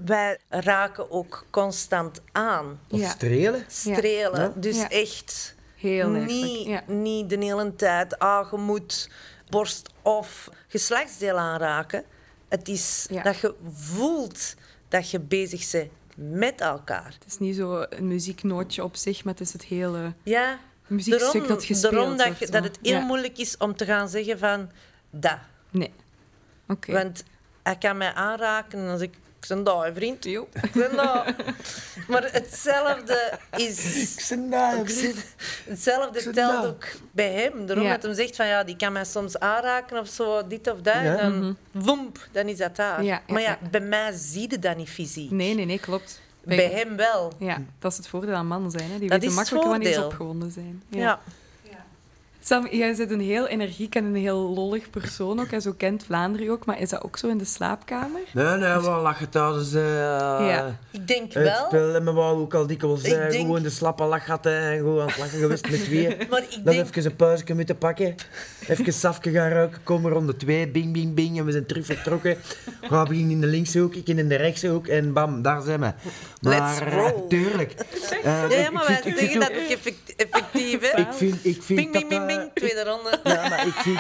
Speaker 3: Wij raken ook constant aan,
Speaker 2: Of
Speaker 1: Ja.
Speaker 2: strelen.
Speaker 3: strelen.
Speaker 2: Ja.
Speaker 3: Dus
Speaker 1: Ja.
Speaker 3: echt
Speaker 1: Heel
Speaker 3: niet,
Speaker 1: erg. Ja.
Speaker 3: niet de hele tijd, ah, je moet borst of geslachtsdeel aanraken. Het is
Speaker 1: Ja.
Speaker 3: dat je voelt dat je bezig bent met elkaar.
Speaker 1: Het is niet zo een muzieknootje op zich, maar het is het hele...
Speaker 3: Ja,
Speaker 1: muziekstuk dat gespeeld
Speaker 3: daarom dat,
Speaker 1: wordt,
Speaker 3: je-
Speaker 1: hè?
Speaker 3: dat het heel
Speaker 1: Ja.
Speaker 3: moeilijk is om te gaan zeggen van dat.
Speaker 1: Nee. Oké.
Speaker 3: Want hij kan mij aanraken en dan zeg ik, ik ben daar, vriend.
Speaker 1: Jo.
Speaker 3: Ik ben daar. maar hetzelfde is...
Speaker 2: Ik zit daar.
Speaker 3: Hetzelfde
Speaker 2: ben
Speaker 3: telt
Speaker 2: daar.
Speaker 3: ook bij hem. Daarom
Speaker 1: Ja.
Speaker 3: dat hij zegt van ja, die kan mij soms aanraken of zo, dit of dat.
Speaker 2: Ja.
Speaker 3: En dan, woemp, dan is dat daar.
Speaker 1: Mhm. Ja, ja,
Speaker 3: maar ja,
Speaker 1: ja.
Speaker 3: bij mij zie je dat niet fysiek.
Speaker 1: Nee, nee, nee, klopt.
Speaker 3: Bij, hem wel.
Speaker 1: Ja, dat is het voordeel aan mannen zijn. Hè. Die
Speaker 3: Dat
Speaker 1: weten
Speaker 3: is het
Speaker 1: makkelijk wanneer ze
Speaker 3: voordeel.
Speaker 1: opgewonden zijn.
Speaker 3: Ja.
Speaker 1: Sam, jij bent een heel energiek en een heel lollig persoon ook. En zo kent Vlaanderen je ook. Maar is dat ook zo in de slaapkamer?
Speaker 2: Nee, nee, we lachen thuis. eh,
Speaker 1: Ja.
Speaker 3: Ik denk
Speaker 2: Het
Speaker 3: wel,
Speaker 2: spel en mijn wou ook al dikwijls
Speaker 3: Ik
Speaker 2: eh,
Speaker 3: denk-
Speaker 2: gewoon de slappe lachgatten en gewoon aan het lachen geweest met wie.
Speaker 3: maar ik
Speaker 2: Dan
Speaker 3: denk
Speaker 2: even een pauze moeten pakken. Even safke gaan ruiken. Komen rond de twee. Bing, bing, bing. En we zijn terug vertrokken. Gaan begin in de linkse hoek, ik in de rechtse hoek. En bam, daar zijn we.
Speaker 3: Let's
Speaker 2: Maar
Speaker 3: roll.
Speaker 2: tuurlijk. Eh,
Speaker 3: Ja,
Speaker 2: ik-
Speaker 3: ja, maar
Speaker 2: ik vind-
Speaker 3: wij
Speaker 2: ik
Speaker 3: zeggen
Speaker 2: vind
Speaker 3: dat
Speaker 2: ook-
Speaker 3: ook effect- effectief, hè?
Speaker 2: Ik vind, ik vind
Speaker 3: Ping, ping,
Speaker 2: dat
Speaker 3: ping,
Speaker 2: dat-
Speaker 3: ping, tweede ronde.
Speaker 2: Ja, maar ik vind,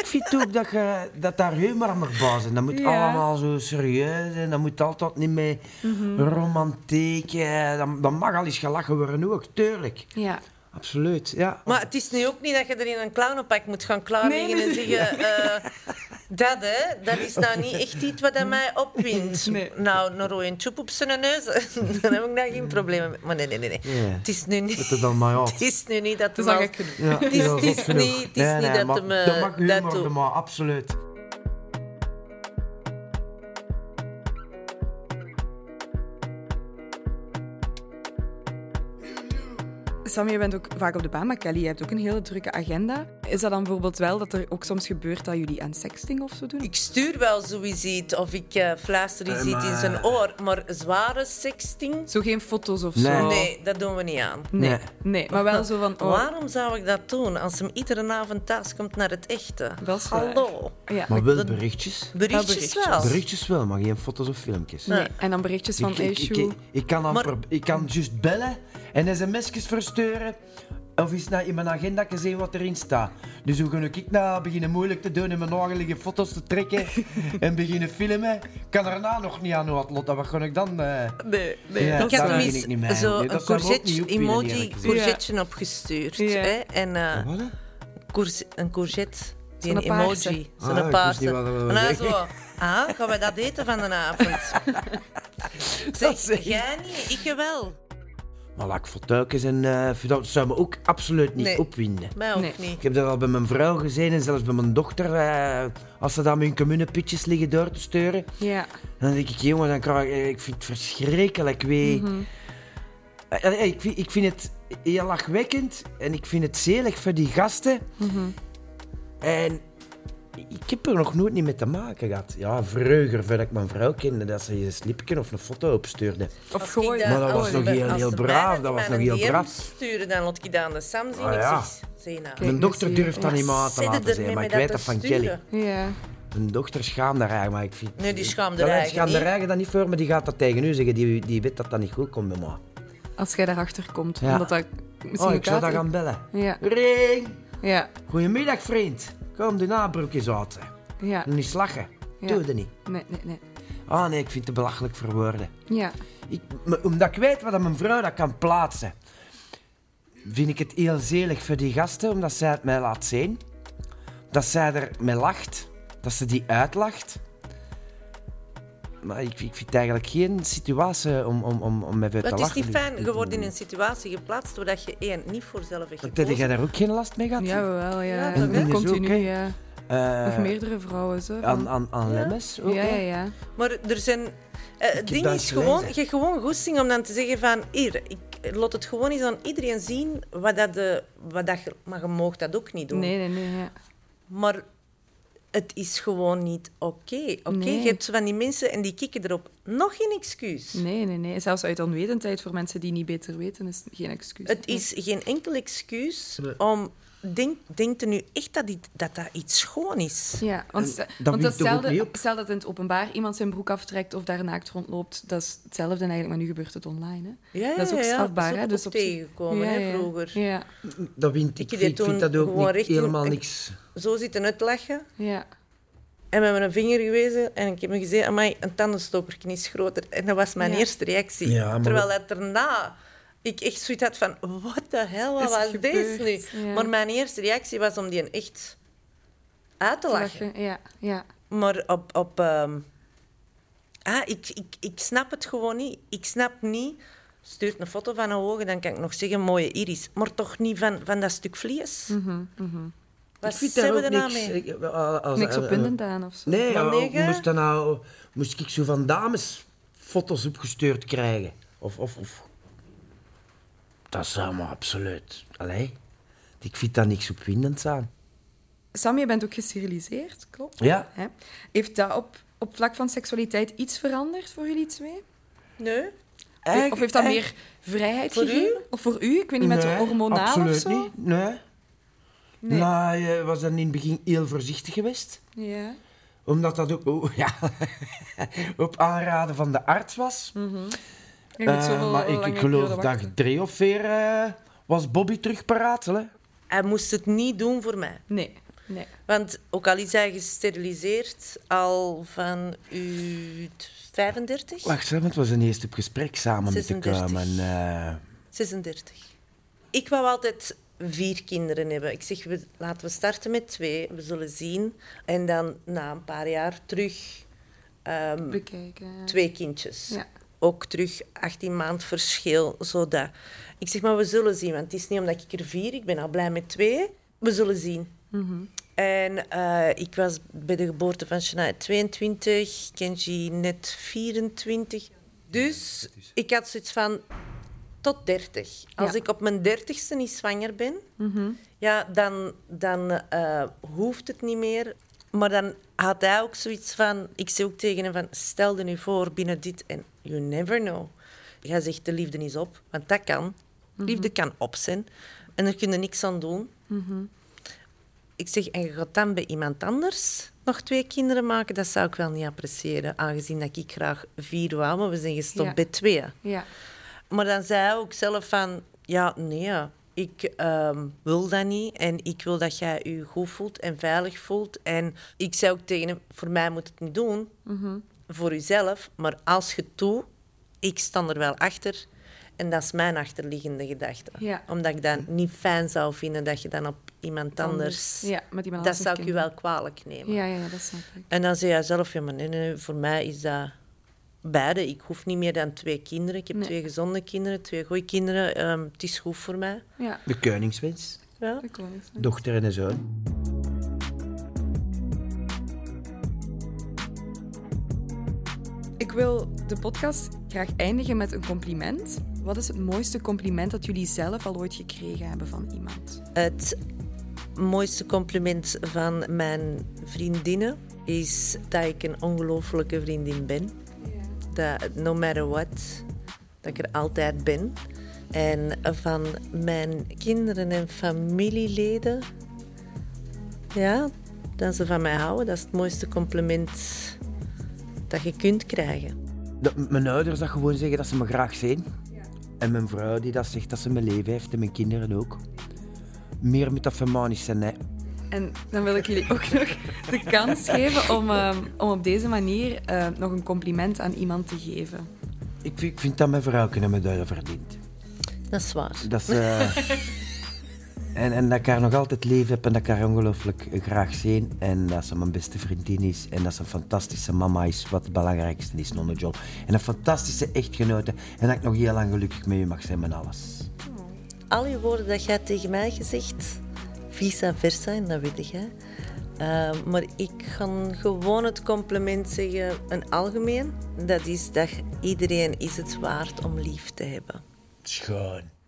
Speaker 2: Ik vind ook dat, je, dat daar humor mag bazen. Dat moet
Speaker 1: Ja.
Speaker 2: allemaal zo serieus zijn. Dat moet altijd niet mee romantiek. eh, Dat, dat mag al eens gelachen worden ook, tuurlijk.
Speaker 1: Ja.
Speaker 2: Absoluut, ja.
Speaker 3: Maar het is nu ook niet dat je er in een clownenpak moet gaan klaarleggen
Speaker 1: Nee,
Speaker 3: en zeggen... eh, dat, hè, dat is nou niet echt iets wat dat mij opwindt.
Speaker 1: Nee.
Speaker 3: Nou, een rode tjoep op zijn neus, dan heb ik daar geen problemen mee. Maar nee, nee, nee. nee.
Speaker 2: Ja.
Speaker 3: Het, is nu niet,
Speaker 2: Zet het dan maar op.
Speaker 3: het is nu niet dat
Speaker 1: Dat
Speaker 3: het
Speaker 1: is al gek genoeg.
Speaker 2: Ja,
Speaker 3: Het is-
Speaker 2: ja,
Speaker 3: het is
Speaker 2: goed genoeg.
Speaker 3: niet- het is niet dat
Speaker 2: maar
Speaker 3: hem, eh,
Speaker 2: Dat mag
Speaker 3: dat
Speaker 2: humor,
Speaker 3: doet.
Speaker 2: doen, maar absoluut.
Speaker 1: Sammy, je bent ook vaak op de baan, maar Kelly, je hebt ook een hele drukke agenda. Is dat dan bijvoorbeeld wel dat er ook soms gebeurt dat jullie aan sexting of zo doen?
Speaker 3: Ik stuur wel zoiets iets of ik eh, fluister iets
Speaker 2: maar-
Speaker 3: in zijn oor, maar zware sexting,
Speaker 1: Zo geen foto's of
Speaker 2: Nee.
Speaker 1: zo?
Speaker 3: nee, dat doen we niet aan.
Speaker 1: Nee.
Speaker 2: Nee.
Speaker 1: Nee, maar wel zo van... Oh,
Speaker 3: Waarom zou ik dat doen als hem iedere avond thuis komt naar het echte?
Speaker 1: Dat is waar.
Speaker 3: Hallo.
Speaker 1: ja,
Speaker 2: Maar wel berichtjes.
Speaker 3: Berichtjes
Speaker 1: Wel
Speaker 3: wel.
Speaker 2: Berichtjes wel, maar geen foto's of filmpjes.
Speaker 1: nee. En dan berichtjes van...
Speaker 2: Ik, ik, ik,
Speaker 1: Eishu.
Speaker 2: ik- ik kan
Speaker 3: Maar-
Speaker 2: amper- ik kan juist bellen en sms'jes versturen. Of eens naar in mijn agenda zien wat erin staat. Dus hoe ga ik nou beginnen moeilijk te doen en mijn ogen liggen foto's te trekken en beginnen filmen? Ik kan daarna nog niet aan wat Lotta. Wat ga ik dan? eh?
Speaker 3: Nee, nee.
Speaker 2: Ja,
Speaker 3: ik had
Speaker 2: daar
Speaker 3: hem
Speaker 2: begin ik niet mee.
Speaker 3: eens zo
Speaker 2: Nee,
Speaker 3: een
Speaker 2: dat zou me ook niet
Speaker 3: courgette,
Speaker 2: opwinden,
Speaker 3: emoji
Speaker 2: eerlijk gezegd.
Speaker 3: courgetje opgestuurd.
Speaker 1: Ja.
Speaker 3: Hè? En eh,
Speaker 2: Wat, hè?
Speaker 3: cours- een courgette, die
Speaker 1: Zo'n
Speaker 3: een
Speaker 1: paarse.
Speaker 3: emoji.
Speaker 2: Ah,
Speaker 3: Zo'n
Speaker 2: ik wist
Speaker 3: paarse.
Speaker 2: niet wat dat wilde
Speaker 3: En dan
Speaker 2: zeggen.
Speaker 3: zo, ah, gaan we dat eten van de avond? zeg, jij niet, ik wel.
Speaker 2: Maar laat ik fortuikjes en eh, dat zou me ook absoluut niet
Speaker 3: Nee.
Speaker 2: opwinden.
Speaker 3: Mij ook
Speaker 1: Nee.
Speaker 3: niet.
Speaker 2: Ik heb dat al bij mijn vrouw gezien en zelfs bij mijn dochter. eh, als ze dan met hun communepitjes liggen door te sturen.
Speaker 1: Ja.
Speaker 2: Dan denk ik, jongen, dan krijg ik, ik vind het verschrikkelijk. Wie...
Speaker 3: Mhm.
Speaker 2: Eh, eh, ik, vind, ik vind het heel lachwekkend en ik vind het zelig voor die gasten.
Speaker 3: Mhm.
Speaker 2: En ik heb er nog nooit niet mee te maken gehad. Ja, vreugder voordat ik mijn vrouw kende dat ze een slipje of een foto opstuurde.
Speaker 1: Of
Speaker 3: Als
Speaker 1: gewoon...
Speaker 3: ik
Speaker 2: Maar dat
Speaker 3: als
Speaker 2: was
Speaker 3: ze
Speaker 2: nog
Speaker 3: bij-
Speaker 2: heel-
Speaker 3: als
Speaker 2: heel
Speaker 3: ze
Speaker 2: braaf,
Speaker 3: mij
Speaker 2: dat was
Speaker 3: een
Speaker 2: nog heel
Speaker 3: DM
Speaker 2: braaf.
Speaker 3: sturen, dan laat ik dat aan de Sam zien.
Speaker 2: Ah,
Speaker 3: ik
Speaker 2: ja.
Speaker 3: zeg, zie nou.
Speaker 1: Kijk,
Speaker 2: mijn dochter
Speaker 1: misschien-
Speaker 2: durft dat niet meer aan te
Speaker 3: Zit
Speaker 2: laten
Speaker 3: er
Speaker 2: zijn,
Speaker 3: mee
Speaker 2: maar ik
Speaker 3: met
Speaker 2: weet
Speaker 3: dat
Speaker 2: dat
Speaker 3: te
Speaker 2: van
Speaker 3: sturen?
Speaker 2: Kelly.
Speaker 1: Ja.
Speaker 2: Mijn dochter schaamt daar eigenlijk, maar ik vind...
Speaker 3: Nee, die schaamt
Speaker 2: Ja,
Speaker 3: er
Speaker 2: Die schaamt
Speaker 3: eigenlijk
Speaker 2: er eigenlijk dan niet voor, maar die gaat dat tegen u zeggen. Die, die weet dat dat niet goed komt bij mij.
Speaker 1: Als jij daarachter komt.
Speaker 2: Ja.
Speaker 1: Omdat dat misschien
Speaker 2: Oh, ik zou
Speaker 1: elkaar-
Speaker 2: dat gaan bellen.
Speaker 1: Ja.
Speaker 2: Ring!
Speaker 1: Ja.
Speaker 2: Goedemiddag, vriend. Kom de nabroek eens uit. hè.
Speaker 1: Ja.
Speaker 2: En Niet lachen.
Speaker 1: Ja.
Speaker 2: Doe dat niet.
Speaker 1: Nee, nee, nee.
Speaker 2: Ah nee, ik vind het te belachelijk voor woorden.
Speaker 1: Ja.
Speaker 2: Ik, maar omdat ik weet wat mijn vrouw dat kan plaatsen, vind ik het heel zelig voor die gasten, omdat zij het mij laat zien. Dat zij er mee lacht. Dat ze die uitlacht. Maar ik, ik vind het eigenlijk geen situatie om, om, om, om mij voor
Speaker 3: Maar
Speaker 2: te
Speaker 3: Het
Speaker 2: lachen.
Speaker 3: is niet fijn. Je wordt in een situatie geplaatst doordat je één niet voor zelf hebt
Speaker 2: Dat jij
Speaker 3: gekozen.
Speaker 2: daar ook geen last mee gehad?
Speaker 1: Jawel, ja.
Speaker 3: Ja,
Speaker 1: ja
Speaker 3: dat
Speaker 2: is ook,
Speaker 1: Continu,
Speaker 2: hè.
Speaker 1: ja.
Speaker 2: Eh,
Speaker 1: Nog meerdere vrouwen, zo. van-
Speaker 2: Aan, aan, aan lemmes ook,
Speaker 1: ja,
Speaker 2: hè?
Speaker 1: ja, ja.
Speaker 3: Maar er zijn... eh, het ding
Speaker 2: dat
Speaker 3: is
Speaker 2: eens
Speaker 3: gewoon, je
Speaker 2: gelezen.
Speaker 3: hebt gewoon goesting om dan te zeggen van... Hier, ik laat het gewoon eens aan iedereen zien wat dat, de, wat dat je... Maar je mag dat ook niet doen.
Speaker 1: Nee, nee, nee. Ja.
Speaker 3: Maar het is gewoon niet oké. Oké,
Speaker 1: Nee.
Speaker 3: je hebt zo van die mensen en die kikken erop. Nog geen excuus.
Speaker 1: Nee, nee, nee. Zelfs uit onwetendheid voor mensen die niet beter weten, is geen excuus.
Speaker 3: Het is geen enkel excuus om... Denk, denkt er nu echt dat, die- dat dat iets schoon is?
Speaker 1: Ja, want, stel-
Speaker 2: dat
Speaker 1: want
Speaker 2: wiegt
Speaker 1: dat
Speaker 2: toch ook niet
Speaker 1: hetzelfde,
Speaker 2: op?
Speaker 1: stel dat in het openbaar iemand zijn broek aftrekt of daar naakt rondloopt, dat is hetzelfde eigenlijk, maar nu gebeurt het online. Hè?
Speaker 3: Ja,
Speaker 1: dat is ook
Speaker 3: ja, ja.
Speaker 1: strafbaar.
Speaker 3: Dat is
Speaker 1: hè?
Speaker 3: ook
Speaker 1: Dus op zich-
Speaker 3: tegengekomen, hè, vroeger.
Speaker 1: Ja,
Speaker 2: Dat vind
Speaker 3: Ik
Speaker 2: ik,
Speaker 3: deed
Speaker 2: ik vind,
Speaker 3: toen
Speaker 2: dat ook
Speaker 3: gewoon
Speaker 2: niet-
Speaker 3: richting-
Speaker 2: helemaal
Speaker 3: ik-
Speaker 2: niks.
Speaker 3: Zo zitten uitlachen.
Speaker 1: ja.
Speaker 3: En met mijn vinger gewezen en ik heb me gezegd, amai, een tandenstokerknie is groter. En dat was mijn
Speaker 1: Ja.
Speaker 3: eerste reactie.
Speaker 2: Ja, maar
Speaker 3: Terwijl dat daarna ik echt zoiets had van, wat de hel, wat
Speaker 1: Is er
Speaker 3: was deze
Speaker 1: gebeurd?
Speaker 3: nu?
Speaker 1: Ja.
Speaker 3: Maar mijn eerste reactie was om die een echt uit te lachen.
Speaker 1: Lachen, Ja, ja.
Speaker 3: Maar op... op ehm, Ah, ik, ik, ik snap het gewoon niet. Ik snap niet... Stuurt een foto van een ogen, dan kan ik nog zeggen, mooie iris. Maar toch niet van, van dat stuk vlees.
Speaker 1: Mhm,
Speaker 3: Wat
Speaker 2: ik vind daar
Speaker 3: hebben
Speaker 2: ook
Speaker 3: we daarna
Speaker 2: niks.
Speaker 3: mee?
Speaker 2: Ik- eh, als-
Speaker 1: Niks
Speaker 2: eh,
Speaker 1: opwindend aan of zo.
Speaker 2: Nee,
Speaker 3: Maar
Speaker 2: eh,
Speaker 3: negen?
Speaker 2: moest, dat nou, moest ik zo van dames foto's opgestuurd krijgen? Of, of, of. Dat zou me absoluut. Allee, ik vind daar niks opwindends aan.
Speaker 1: Sam, je bent ook gesteriliseerd, klopt?
Speaker 2: Ja.
Speaker 1: Hè? Heeft dat op, op vlak van seksualiteit iets veranderd voor jullie twee?
Speaker 3: Nee.
Speaker 1: of heeft dat meer vrijheid
Speaker 3: Voor u?
Speaker 1: gegeven? Of voor u? Ik weet niet, met
Speaker 2: Nee,
Speaker 1: hormonaal
Speaker 2: absoluut
Speaker 1: of zo?
Speaker 2: Niet. Nee.
Speaker 1: Nee.
Speaker 2: Nou, je was dan in het begin heel voorzichtig geweest.
Speaker 1: Ja.
Speaker 2: Omdat dat ook oh, ja, op aanraden van de arts was.
Speaker 1: Je moet
Speaker 2: Eh,
Speaker 1: zoveel
Speaker 2: maar ik,
Speaker 1: lange
Speaker 2: ik geloof
Speaker 1: periode
Speaker 2: dag
Speaker 1: wachten.
Speaker 2: drie of vier eh, was Bobby terug paraat. hè.
Speaker 3: Hij moest het niet doen voor mij.
Speaker 1: Nee. Nee.
Speaker 3: Want ook al is hij gesteriliseerd al van u 35,
Speaker 2: Wacht, hè, want het was een eerste gesprek samen met
Speaker 3: 36.
Speaker 2: de Kamer. eh,
Speaker 3: 36. Ik wou altijd vier kinderen hebben. Ik zeg, we, laten we starten met twee, we zullen zien. En dan na een paar jaar terug ehm,
Speaker 1: Bekijken.
Speaker 3: twee kindjes.
Speaker 1: Ja.
Speaker 3: Ook terug 18 maand verschil, zodat. Ik zeg maar, we zullen zien, want het is niet omdat ik er vier, ik ben al blij met twee. We zullen zien. En eh, ik was bij de geboorte van Shania 22, Kenji net 24. Dus ik had zoiets van tot 30. Als
Speaker 1: Ja. Mhm.
Speaker 3: ik op mijn 30ste niet zwanger ben, ja, dan, dan eh, hoeft het niet meer. Maar dan had hij ook zoiets van... Ik zei ook tegen hem van, stel je nu voor binnen dit en you never know. Jij zegt, de liefde is op, want dat kan.
Speaker 1: Mhm.
Speaker 3: Liefde kan op zijn en daar kun je niks aan doen.
Speaker 1: Mhm.
Speaker 3: Ik zeg, en je gaat dan bij iemand anders nog twee kinderen maken? Dat zou ik wel niet appreciëren, aangezien dat ik graag vier wou, maar we zijn gestopt
Speaker 1: Ja.
Speaker 3: bij twee.
Speaker 1: Ja.
Speaker 3: Maar dan zei hij ook zelf van... Ja, nee, ik ehm, wil dat niet. En ik wil dat jij je goed voelt en veilig voelt. En ik zei ook tegen hem, voor mij moet het niet doen. Voor uzelf. Maar als je het doet, ik sta er wel achter. En dat is mijn achterliggende gedachte.
Speaker 1: Ja.
Speaker 3: Omdat ik dat niet fijn zou vinden dat je dan op iemand anders...
Speaker 1: Ja, met iemand anders
Speaker 3: dat zou ik je
Speaker 1: kinderen.
Speaker 3: wel kwalijk nemen.
Speaker 1: Ja, ja, ja, dat snap ik.
Speaker 3: En dan zei hij zelf, ja, maar nee, nee, nee, voor mij is dat beide. Ik hoef niet meer dan twee kinderen. Ik heb
Speaker 1: Nee.
Speaker 3: twee gezonde kinderen, twee goede kinderen. Ehm, het is goed voor mij.
Speaker 1: Ja,
Speaker 2: de Koningswens,
Speaker 3: Ja.
Speaker 1: dat klopt.
Speaker 2: dochter en een zoon.
Speaker 1: Ik wil de podcast graag eindigen met een compliment. Wat is het mooiste compliment dat jullie zelf al ooit gekregen hebben van iemand?
Speaker 3: Het mooiste compliment van mijn vriendinnen is dat ik een ongelofelijke vriendin ben. Dat no matter what, dat ik er altijd ben. En van mijn kinderen en familieleden, ja, dat ze van mij houden, dat is het mooiste compliment dat je kunt krijgen.
Speaker 2: Dat m- mijn ouders dat gewoon zeggen dat ze me graag zien. En mijn vrouw die dat zegt dat ze mijn leven heeft en mijn kinderen ook. Meer moet dat van mij niet zijn, hè.
Speaker 1: En dan wil ik jullie ook nog de kans geven om, ehm, om op deze manier eh, nog een compliment aan iemand te geven.
Speaker 2: Ik vind, ik vind dat mijn vrouw kunnen me duiden verdient.
Speaker 3: Dat is waar.
Speaker 2: Dat is, eh, en, en dat ik haar nog altijd lief heb en dat ik haar ongelooflijk graag zie. En dat ze mijn beste vriendin is. En dat ze een fantastische mama is, wat het belangrijkste is, nonne John. En een fantastische echtgenote. En dat ik nog heel lang gelukkig met u mag zijn met alles.
Speaker 3: al je woorden dat jij tegen mij gezegd, vice versa, en dat weet jij. Eh, maar ik ga gewoon het compliment zeggen, een algemeen. Dat is dat iedereen is het waard om lief te hebben.
Speaker 2: Schoon.